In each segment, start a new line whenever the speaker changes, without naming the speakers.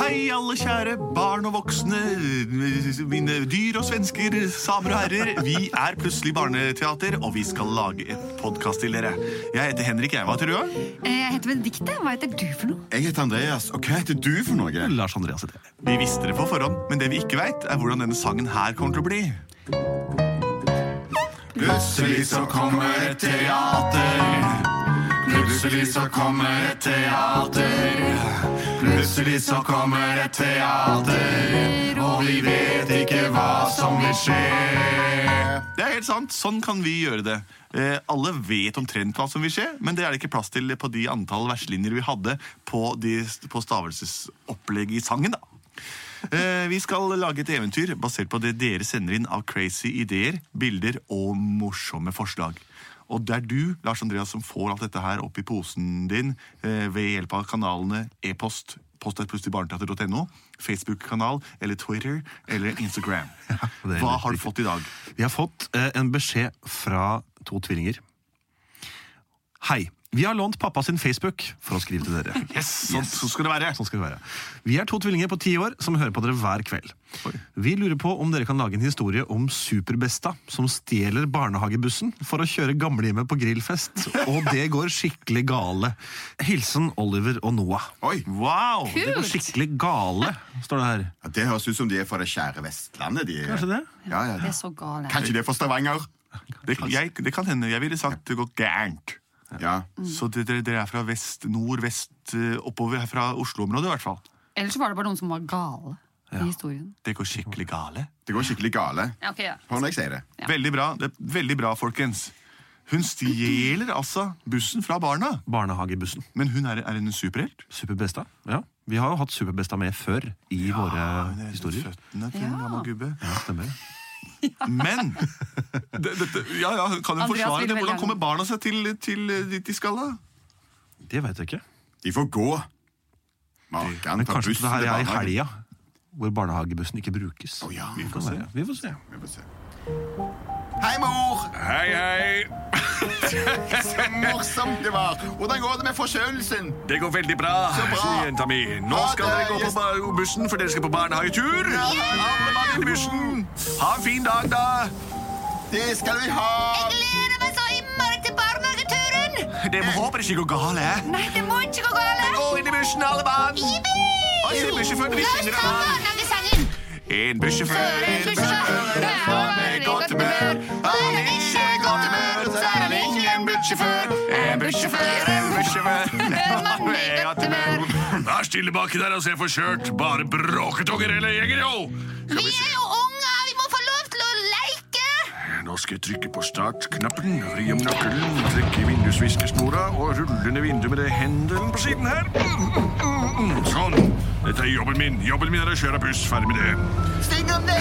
Hei, alle kjære barn og voksne, mine dyr og svensker, samer og herrer. Vi er plutselig barneteater, og vi skal lage et podkast til dere. Jeg heter Henrik Eiva, tror jeg.
Eh, Jeg heter Benedikte. Hva heter du for noe?
Jeg heter Andreas, og hva heter du for noe?
Lars Andreas heter jeg.
Vi visste det på forhånd, men det vi ikke veit, er hvordan denne sangen her kommer til å bli.
Plutselig så kommer et teater. Plutselig så kommer et teater. Plutselig så kommer et teater. Og vi vet ikke hva som vil skje.
Det er helt sant. Sånn kan vi gjøre det. Eh, alle vet omtrent hva som vil skje, men det er det ikke plass til på de antall verslinjer vi hadde på, de, på stavelsesopplegget i sangen, da. Eh, vi skal lage et eventyr basert på det dere sender inn av crazy ideer, bilder og morsomme forslag. Og det er du, Lars Andreas, som får alt dette her opp i posen din eh, ved hjelp av kanalene e-post, post.plutselig.barneteater.no, Facebook-kanal eller Twitter eller Instagram.
det er
Hva
helt
har du fått i dag?
Vi har fått eh, en beskjed fra to tvillinger. Hei. Vi har lånt pappa sin Facebook for å skrive til dere.
Yes, sånn, sånn skal det være.
Sånn skal det være. Vi er to tvillinger på ti år som hører på dere hver kveld. Vi lurer på om dere kan lage en historie om Superbesta som stjeler barnehagebussen for å kjøre gamlehjemmet på grillfest, og det går skikkelig gale. Hilsen Oliver og Noah.
Oi,
Wow!
Det går
Kult!
skikkelig gale, står det her.
ja, Det høres ut som de er fra det kjære Vestlandet. De.
Kanskje det?
Ja, ja,
Det
ja.
er så gal jeg.
Kanskje de er fra Stavanger?
Det, jeg, det kan hende. Jeg ville sagt det går gærent.
Ja.
Så det- dere dere er fra vest, nord, vest, eh, oppover her fra Oslo-området i hvert fall.
Ellers var det bare noen som var gale i historien.
Det går skikkelig gale.
Det går skikkelig gale.
Ja, ok, ja.
Hør når jeg sier det.
Ja.
Veldig bra, det, veldig bra, folkens. Hun stjeler altså bussen fra barna,
Barnehagebussen.
men hun er, er hun en superhelt.
Superbesta. Ja. Vi har jo hatt Superbesta med før i våre
Hun er
historier.
Føttene til en
Ja.
gammel gubbe.
Ja, stemmer.
Men det, dette- ja, ja, hun kan hun forsvare
Andreas ville
det?
veldig
Hvordan
gjerne-
kommer barna seg til, til eh, dit de skal, da?
Det veit jeg ikke.
De får gå. Makan
Men
tar
kanskje
bussen
det her
til
er i
barnehagen.
helga, hvor barnehagebussen ikke brukes.
Å, ja.
vi, får se. vi får se.
Vi får se. Hei, mor!
Hei, hei.
Så morsomt det var! Hvordan går det med forkjølelsen?
Det går veldig bra,
bra.
sier jenta mi. Nå
Ha
skal
det,
dere gå på
yes.
ba- bussen, for dere skal på barnehagetur. Alle mann inn i bussen. Ha en fin dag, da.
Det skal vi ha!
gleder meg så innmari til barnehageturen!
Det håper ikke går galt. eh.
Nei, det må ikke gå galt!
Gå inn i bussen, alle mann. Oi, se bussjåføren, vi
La oss
synger
ta
en annen.
barnehagesangen!
En bussjåfør, en bussjåfør, den får meg i godt humør. Han er ikke i godt humør, så er han ingen bussjåfør. En bussjåfør, en bussjåfør, den får meg i godt humør. Vær stille baki der og se forkjørt. Bare bråketunger eller jegere, jo.
Vi er jo unge, og vi må få lov til å leke!
Nå skal jeg trykke på startknappen, vri om nøkkelen, trekke i vindusviskesnora og rulle ned vinduet med det hendelen på siden her. Mm, mm, mm, Sånn. Dette er jobben min. Jobben min er å kjøre buss. Ferdig med det.
Sting om det!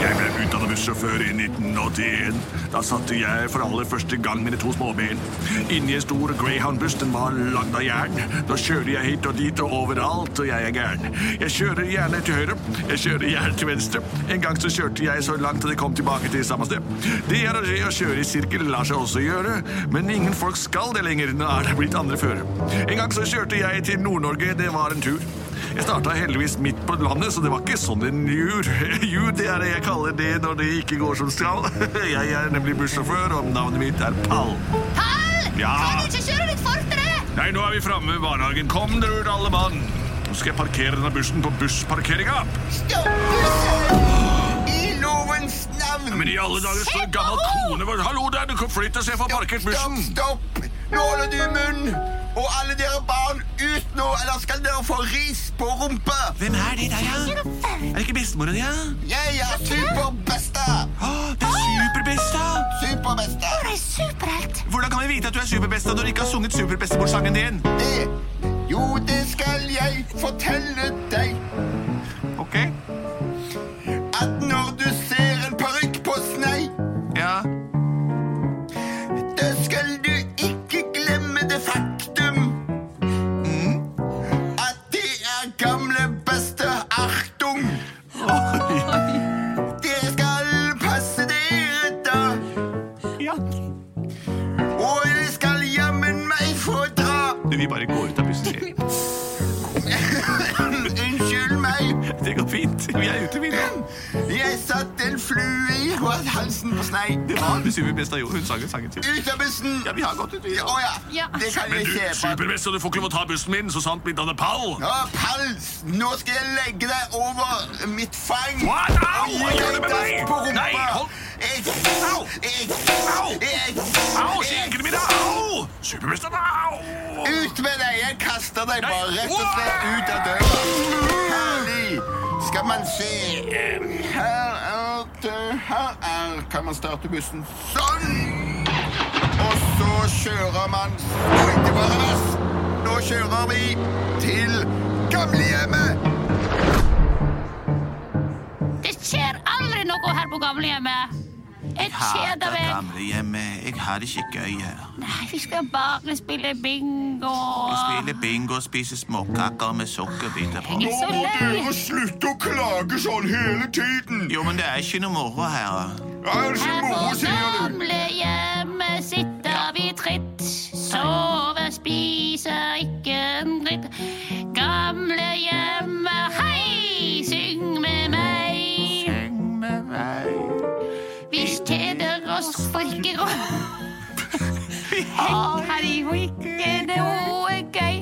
Jeg ble utdannet bussjåfør i 1981. Da satte jeg for aller første gang mine to småben. Inni en stor Greyhound-buss, den var lagd av jern. Da kjører jeg hit og dit og overalt, og jeg er gæren. Jeg kjører gjerne til høyre, jeg kjører gjerne til venstre. En gang så kjørte jeg så langt at jeg kom tilbake til samme sted. Det er å skje å kjøre i sirkel lar seg også gjøre, men ingen folk skal det lenger. Nå er det blitt andre føre. En gang så kjørte jeg til Nord-Norge, det var en tur. Jeg starta heldigvis midt på landet, så det var ikke sånn en jur. Jur, det er det jeg kaller det når det ikke går som skal. Jeg er nemlig bussjåfør, og navnet mitt er Pall.
Pall!
Ja.
Kan du ikke kjøre litt fortere?
Nei, nå er vi framme ved barnehagen. Kom dere ut, alle mann. Nå skal jeg parkere denne bussen på bussparkeringa.
Stopp bussen! I lovens navn!
Men i alle dager står en gammel kone vår Hallo der, du kan flytte og se for parkert bussen.
Stopp, stopp! Nå holder du munn! Og alle dere barn, ut nå, ellers skal dere få ris på rumpa!
Hvem er det der, ja? Er det ikke bestemora di, ja?
Jeg er superbesta!
Det er Superbesta!
Superbesta!
For ei superhelt!
Hvordan kan vi vite at du er Superbesta når du ikke har sunget Superbestemorsangen din?
Det Jo, det skal jeg fortelle deg.
Ok,
At når du ser en parykk på snei,
ja.
da skal du ikke glemme det faktum Mm. at det er gamle beste Achtung. Dere skal passe dere, da.
Ja.
Og dere skal jammen meg få dra.
Du, vi bare går ut av bussen. sier jeg. Det går fint. Vi er ute, vi nå.
Jeg satt en flue i halsen på snei.
Det var Super Besta Jo. Hun sang en sang til.
Ut av bussen!
Ja, vi har gått ut, vi.
Å ja.
Ja.
Det kan
Men
jeg
du,
se på.
superbest, og du får ikke lov å ta bussen min, så sant mitt navn er Pall.
Å, Pals, nå skal jeg legge deg over mitt fang.
What? Au!
Og
Hva
gi
gjør du med
deg
meg?
På rumpa.
Nei, hold-
Jeg,
Au!
jeg,
Au!
jeg,
Au,
jeg,
skinkene mine! Au! Superbest, au!
ut med deg! Jeg kaster deg
Nei.
bare rett og slett ut av døra. Herlig! Skal man se eh, Her er det Her er Kan man starte bussen sånn? Og så kjører man Og ikke bare ress. Nå kjører vi til gamlehjemmet.
Det skjer aldri noe her på gamlehjemmet. Jeg kjeder meg.
Gamlehjemmet, jeg har det ikke gøy her.
Nei, vi skal bare spille bingo.
bingo og spise småkaker med sukkerbiter på.
Jeg er så lei.
slutte å klage sånn hele tiden.
Jo, men det er ikke noe moro her.
Er det
Her på
moro,
gamlehjemmet sitter vi tritt. Sove, spise, ikke en dritt. Gamlehjemmet, hei, syng med meg. Vi kjeder oss folker og Har her i jo ikke noe gøy.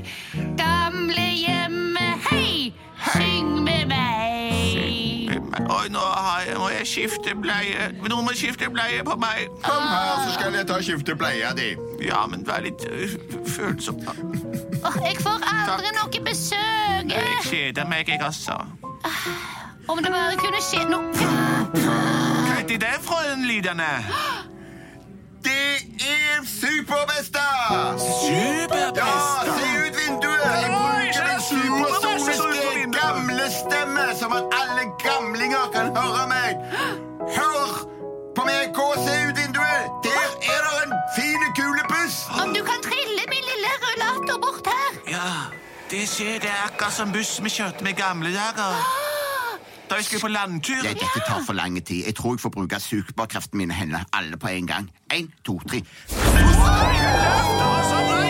Gamlehjemmet, hei, syng med meg.
Oi, nå har jeg, må jeg skifte bleie. Noen må skifte bleie på meg.
Kom her, så skal jeg ta og skifte bleia di.
Ja, men vær litt ø, f- følsom. da.
Åh, jeg får aldri noe besøk. Ah,
Jeg kjeder meg, jeg også.
Om det bare kunne skje noe.
Hva er det for en lydende?
Det er Superbesta! Ja, se ut vinduet! Jeg
Oi, det
bruker
er
den supersoniske gamlestemme, som at alle gamlinger kan høre meg. Hør på meg, gå og se ut vinduet! Der er det en fin kulebuss!
Om du kan trille min lille rullator bort her.
Ja, det skjer det er akkurat som bussen vi kjørte med i gamle dager. Da vi skulle på landtur.
Nei, dette tar for lang tid. Jeg tror jeg får bruke sugebarkreftene mine hender alle på en gang. En, to, tre.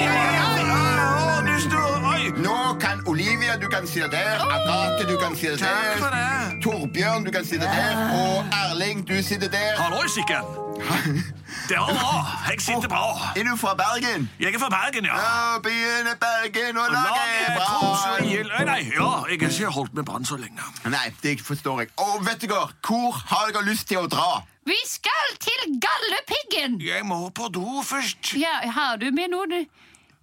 Å, du står- Oi!
Nå kan Olivia, du kan si det der. Agathe, du kan si det
Takk for
der.
det.
Torbjørn, du kan si det der. Og Erling, du sitter der.
Hallois, ikke? Det var bra. Jeg sitter bra.
Er du fra Bergen?
Jeg er fra Bergen, ja.
Ja, byen er Bergen, og laget er
Laget, Tromsø,
Brann.
Gjell- Nei, nei, ja, jeg har ikke holdt med Brann så lenge.
Nei, det forstår jeg. Og vet dere, hvor har dere lyst til å dra?
Vi skal til Galdhøpiggen!
Jeg må på do først.
Ja, har du med noen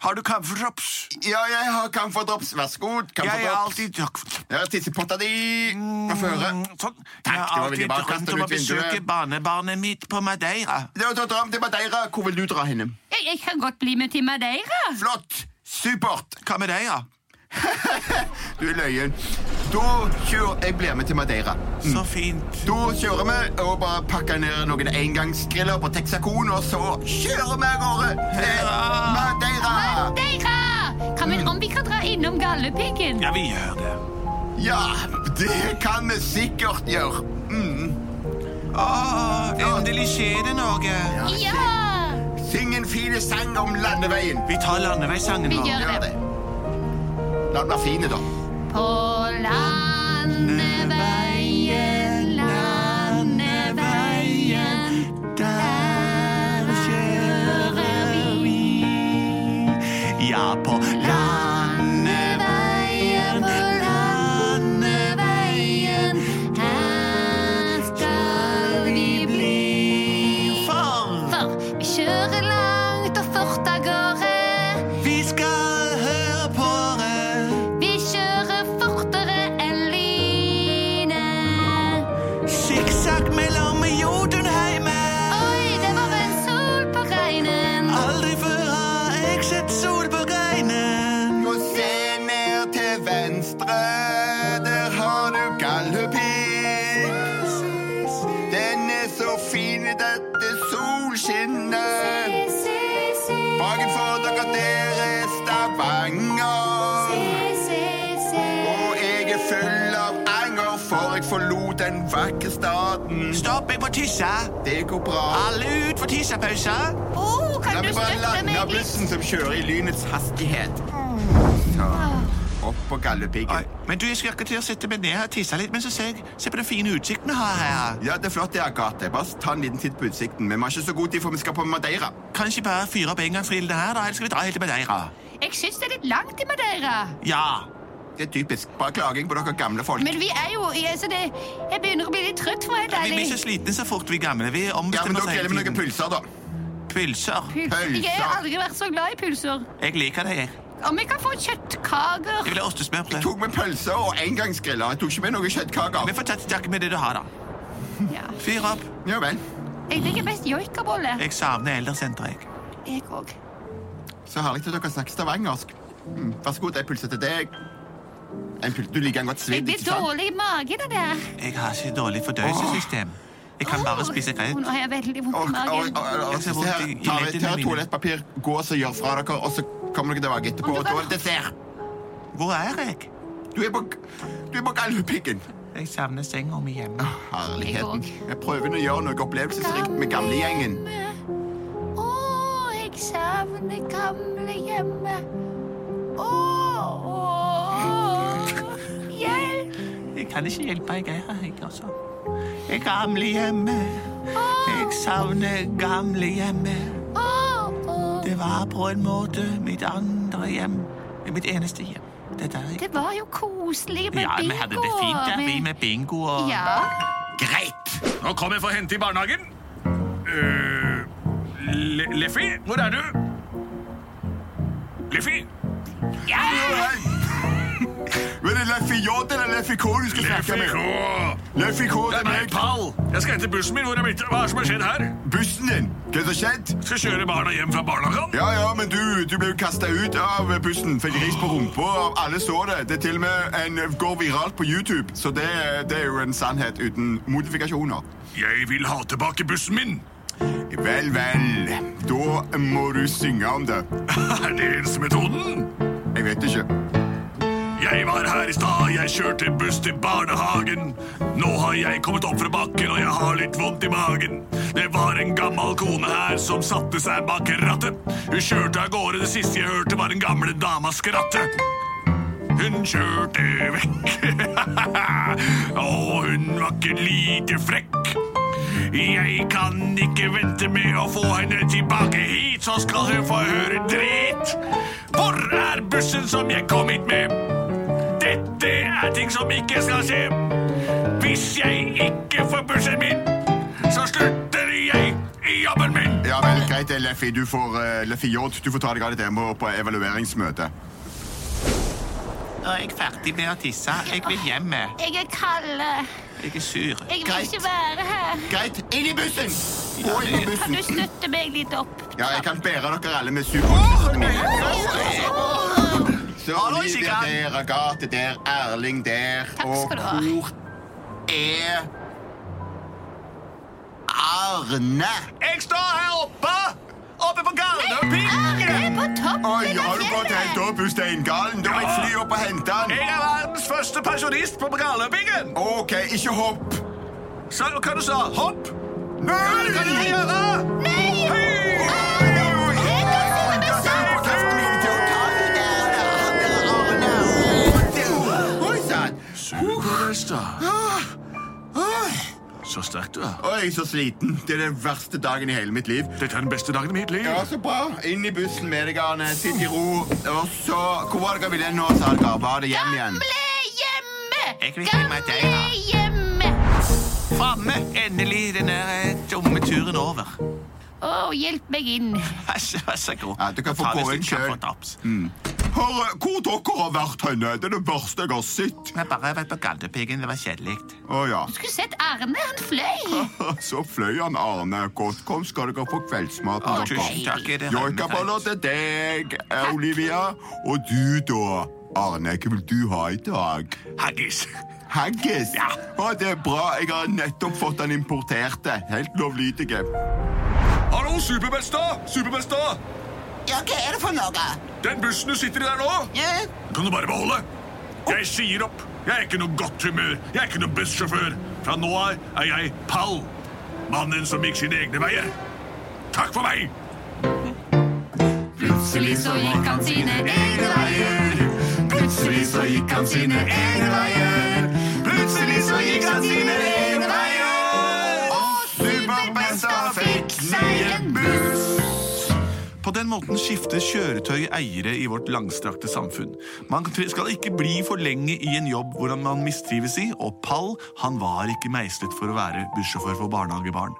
Har du kaffedrops?
Ja, jeg har kamferdrops. Vær så god.
Jeg er
Kamferdrops.
alltid Takk,
Jeg har tissepotta di. Hva får jeg høre?
Sånn. Jeg har
det var veldig
alltid
bra.
drømt
Kastet
om å
ut vinduet.
besøke barnebarnet mitt på Madeira.
Det var Tom til Madeira. Hvor vil du dra henne?
Jeg, jeg kan godt bli med til Madeira.
Flott! Supert!
Hva med deg, ja?
Du er løyen. Da kjører jeg blir med til Madeira. Mm.
Så fint.
Da kjører vi og bare pakker ned noen engangsgriller på Texacon, og så kjører vi av gårde til Madeira!
Madeira! Kan vi, om vi kan dra innom Galdhøpiggen?
Ja, vi gjør det.
Ja, det kan vi sikkert gjøre.
Å, endelig skjer det noe.
Ja!
Syng en fin sang om landeveien.
Vi tar landeveisangen
Vi
nå.
gjør
Gjør
det.
det. La den være fin, da.
På landeveien, landeveien, der kjører vi.
Ja, på
Landeveien, på landeveien, her skal vi bli.
landfar.
For vi kjører langt og fort av gårde.
Vi skal høre på det.
Vi kjører fortere enn lynet.
Sikksakk mellom Jotunheimen.
Oi, det var en sol på regnen.
Aldri før har jeg sett sol på greinen.
Gå se ned til venstre, der har du Galdhøpigg. Den er så fin i dette solskinnet.
Se, se,
Bakenfor dere der er Stavanger.
se,
Og
se.
jeg er full av anger, for jeg forlot den vakre staden.
Stopp, jeg må tisse.
Det går bra.
Alle ut for tissepause.
Oh,
La
kan du
meg bare
støtte
lande
meg litt?
bussen som kjører i lynets hastighet. Så. opp på
Nei,
Galdhøpiggen.
Men du, jeg skulle akkurat til å sette meg ned her og tisse litt, men så ser jeg Se på den fine utsikten vi har her.
Ja, det er flott, det, Agathe. Bare ta en liten titt på utsikten. Men vi har ikke så god tid, for vi skal på Madeira.
Kan ikke bare fyre opp en gang for ilden her, da? Eller skal vi dra helt til Madeira?
Jeg syns det er litt langt til Madeira.
Ja.
Det er typisk. Bare klaging på dere gamle folk.
Men vi er jo i altså det, Jeg begynner å bli litt trøtt, for å være helt
Vi blir så
ærlig.
slitne så fort vi gamle. Vi
Ja, men
ombestemmer
Dere gjelder med noen pølser, da.
Pølser.
Pulser. Jeg har aldri vært så glad i pulser.
Jeg liker det, jeg.
Om jeg kan få kjøttkaker
Jeg vil ha ostesmørbrød.
Tok med pølser og engangsgriller. Jeg tok ikke med noen kjøttkaker.
Vi får ta til takke med det du har, da.
ja.
Fyr opp.
Ja vel.
Jeg liker best joikabolle.
Jeg savner eldresenteret, jeg.
Jeg òg.
Så herlig at dere snakker stavangersk. Mm, vær så god, en pølse til deg. En pølse. Du liker den godt
Jeg
svidd,
blir
ikke
sånn.
sant?
dårlig i magen av det.
Jeg har ikke dårlig fordøyelsessystem. Jeg kan bare spise
Åh,
grøt.
Nå har jeg veldig vondt
Og,
i
og, og,
magen.
og,
Jeg
og,
ser
se
vondt
her,
i- i
ta,
leddene
ta
mine.
toalettpapir, gå og så gjør fra dere, og så kommer dere tilbake etterpå.
Om du
Og da
kan-
er det dessert.
Hvor er jeg?
Du er på, du er på Galdhøpiggen.
Jeg savner senga mi hjemme.
Herligheten.
Jeg
Jeg prøver nå å gjøre noe opplevelsesrikt med gamlegjengen.
Å, jeg savner gamlehjemmet. Å, å, hjelp!
Jeg kan ikke hjelpe, jeg er her, jeg, altså. Jeg er gamlehjemmet. Jeg savner gamlehjemmet.
Å, å.
Det var på en måte mitt andre hjem. Mitt eneste hjem. Det der, jeg.
Det var jo koselig med
Ja,
bingo.
vi hadde det fint der, vi med bingo og
Ja,
Greit!
Nå kommer jeg for å hente i barnehagen. Uh, Le Leffy, hvor er du? Leffy?
Men det er Leffy J eller Leffy K du skal snakke
Leffy
med?
K!
Leffy K,
Det er meg, Pall. Jeg skal hente bussen min. Hvor er mitt? Hva er det som har skjedd her?
Bussen din. Hva er det som har skjedd?
Skal kjøre barna hjem fra barnehagen?
Ja, ja, men du, du ble jo kasta ut av bussen. Fikk ris på rumpa. og Alle så det. Det er til og med en, går viralt på YouTube, så det, det er jo en sannhet uten modifikasjoner.
Jeg vil ha tilbake bussen min.
Vel, vel. Da må du synge om det.
Er det eneste metoden?
Jeg vet ikke.
Jeg var her i stad, jeg kjørte buss til barnehagen. Nå har jeg kommet opp fra bakken, og jeg har litt vondt i magen. Det var en gammel kone her som satte seg bak rattet. Hun kjørte av gårde, det siste jeg hørte var den gamle dama skratte. Hun kjørte vekk. og hun var ikke lite frekk. Jeg kan ikke vente med å få henne tilbake hit, så skal hun få høre drit. Hvor er bussen som jeg kom hit med? Dette er ting som ikke skal skje. Hvis jeg ikke får bussen min, så slutter jeg i jobben min.
Ja vel, greit det, Leffy. Du får, eh, Leffy J, du får ta deg av dette hjemme og på evalueringsmøte.
Nå er jeg ferdig med å tisse. Jeg vil hjem. Jeg
jeg er kalde.
er sur.
Jeg vil
Greit.
ikke være her.
Greit, inn i bussen! Og inn i bussen.
Kan du støtte meg litt opp?
Ja, jeg kan bære dere alle med superbussen min. Så
Hallo,
Olivia
Sigurd.
der, Agathe der, Erling der,
Takk
og
skal du ha.
hvor er Arne?
Jeg står her oppe! Oppe på
Arne
Gardøpiggen!
er på toppen av
Oi, har du fått
fjellet!
helt opp Steingalen? Da må jeg fly opp og hente han.
Jeg er verdens første pensjonist på Gardøpiggen!
OK, ikke hopp.
Så hva du sa? Hopp?
Nei!
Hva er det du kan gjøre?
Nei!
Hei! Superbesta. Så sterk du er.
Oi, så sliten. Det er den verste dagen i hele mitt liv.
Dette er den beste dagen i mitt liv.
Ja, så bra. Inn i bussen med deg, Arne. Sitt i ro. Og så Hvor var det dere ville nå, sa dere? Bare hjem igjen.
Jeg vil hjem
Gamlehjemmet!
med deg, da.
Gamlehjemmet!
Framme! Endelig den der eh, dumme turen over.
Å, hjelp meg inn.
Vær så vær så god.
Ja, du kan få
Ta hvis
gå
du
inn
kan
selv.
få taps.
Herre, hvor dere har vært henne? Det er det verste jeg har sett.
Jeg har bare vært på Galdhøpiggen. Det var kjedelig.
Å ja.
Skulle sett Arne, han fløy.
Så fløy han Arne. Godt kom skal dere få
Å,
kveldsmaten
Tusen
deres.
takk. er det
Joikaboller
regnet?
til deg, Olivia. Og du, da? Arne, hva vil du ha i dag?
Haggis.
Haggis? Ja. Å, det er bra. Jeg har nettopp fått den importerte. Helt lovlydige.
Hallo, Superbesta! Superbesta!
Ja, hva er det for noe?
Den bussen du sitter i der nå,
Ja,
kan du bare beholde. Jeg sier opp. Jeg er ikke noe godt humør. Jeg er ikke noe bussjåfør. Fra nå av er jeg Pall. Mannen som gikk sine egne veier. Takk for meg!
Plutselig så gikk han sine egne veier.
Plutselig Plutselig så gikk han sine egne veier. Plutselig så gikk han sine egne veier. Og Superbesta fikk seg en buss.
På den måten skifter kjøretøy eiere i vårt langstrakte samfunn. Man skal ikke bli for lenge i en jobb hvor man mistrives i, og Pall han var ikke meislet for å være bussjåfør for barnehagebarn.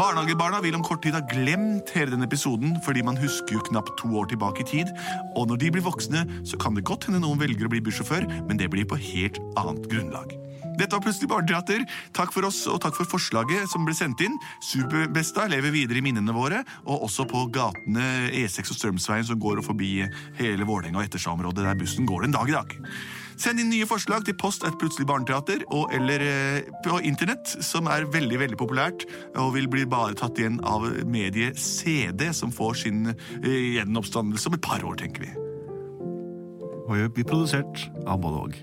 Barnehagebarna vil om kort tid ha glemt hele den episoden, fordi man husker jo knapt to år tilbake i tid, og når de blir voksne, så kan det godt hende noen velger å bli bussjåfør, men det blir på helt annet grunnlag. Dette var Plutselig barneteater. Takk for oss, og takk for forslaget som ble sendt inn. Superbesta lever videre i minnene våre, og også på gatene E6 og Strømsveien som går forbi hele Vålerenga og Ettersjøområdet, der bussen går den dag i dag. Send inn nye forslag til post at Plutselig barneteater og eller eh, på internett, som er veldig veldig populært og vil bli bare tatt igjen av mediet CD, som får sin eh, gjenoppstandelse om et par år, tenker vi.
Og vi blir produsert av både og.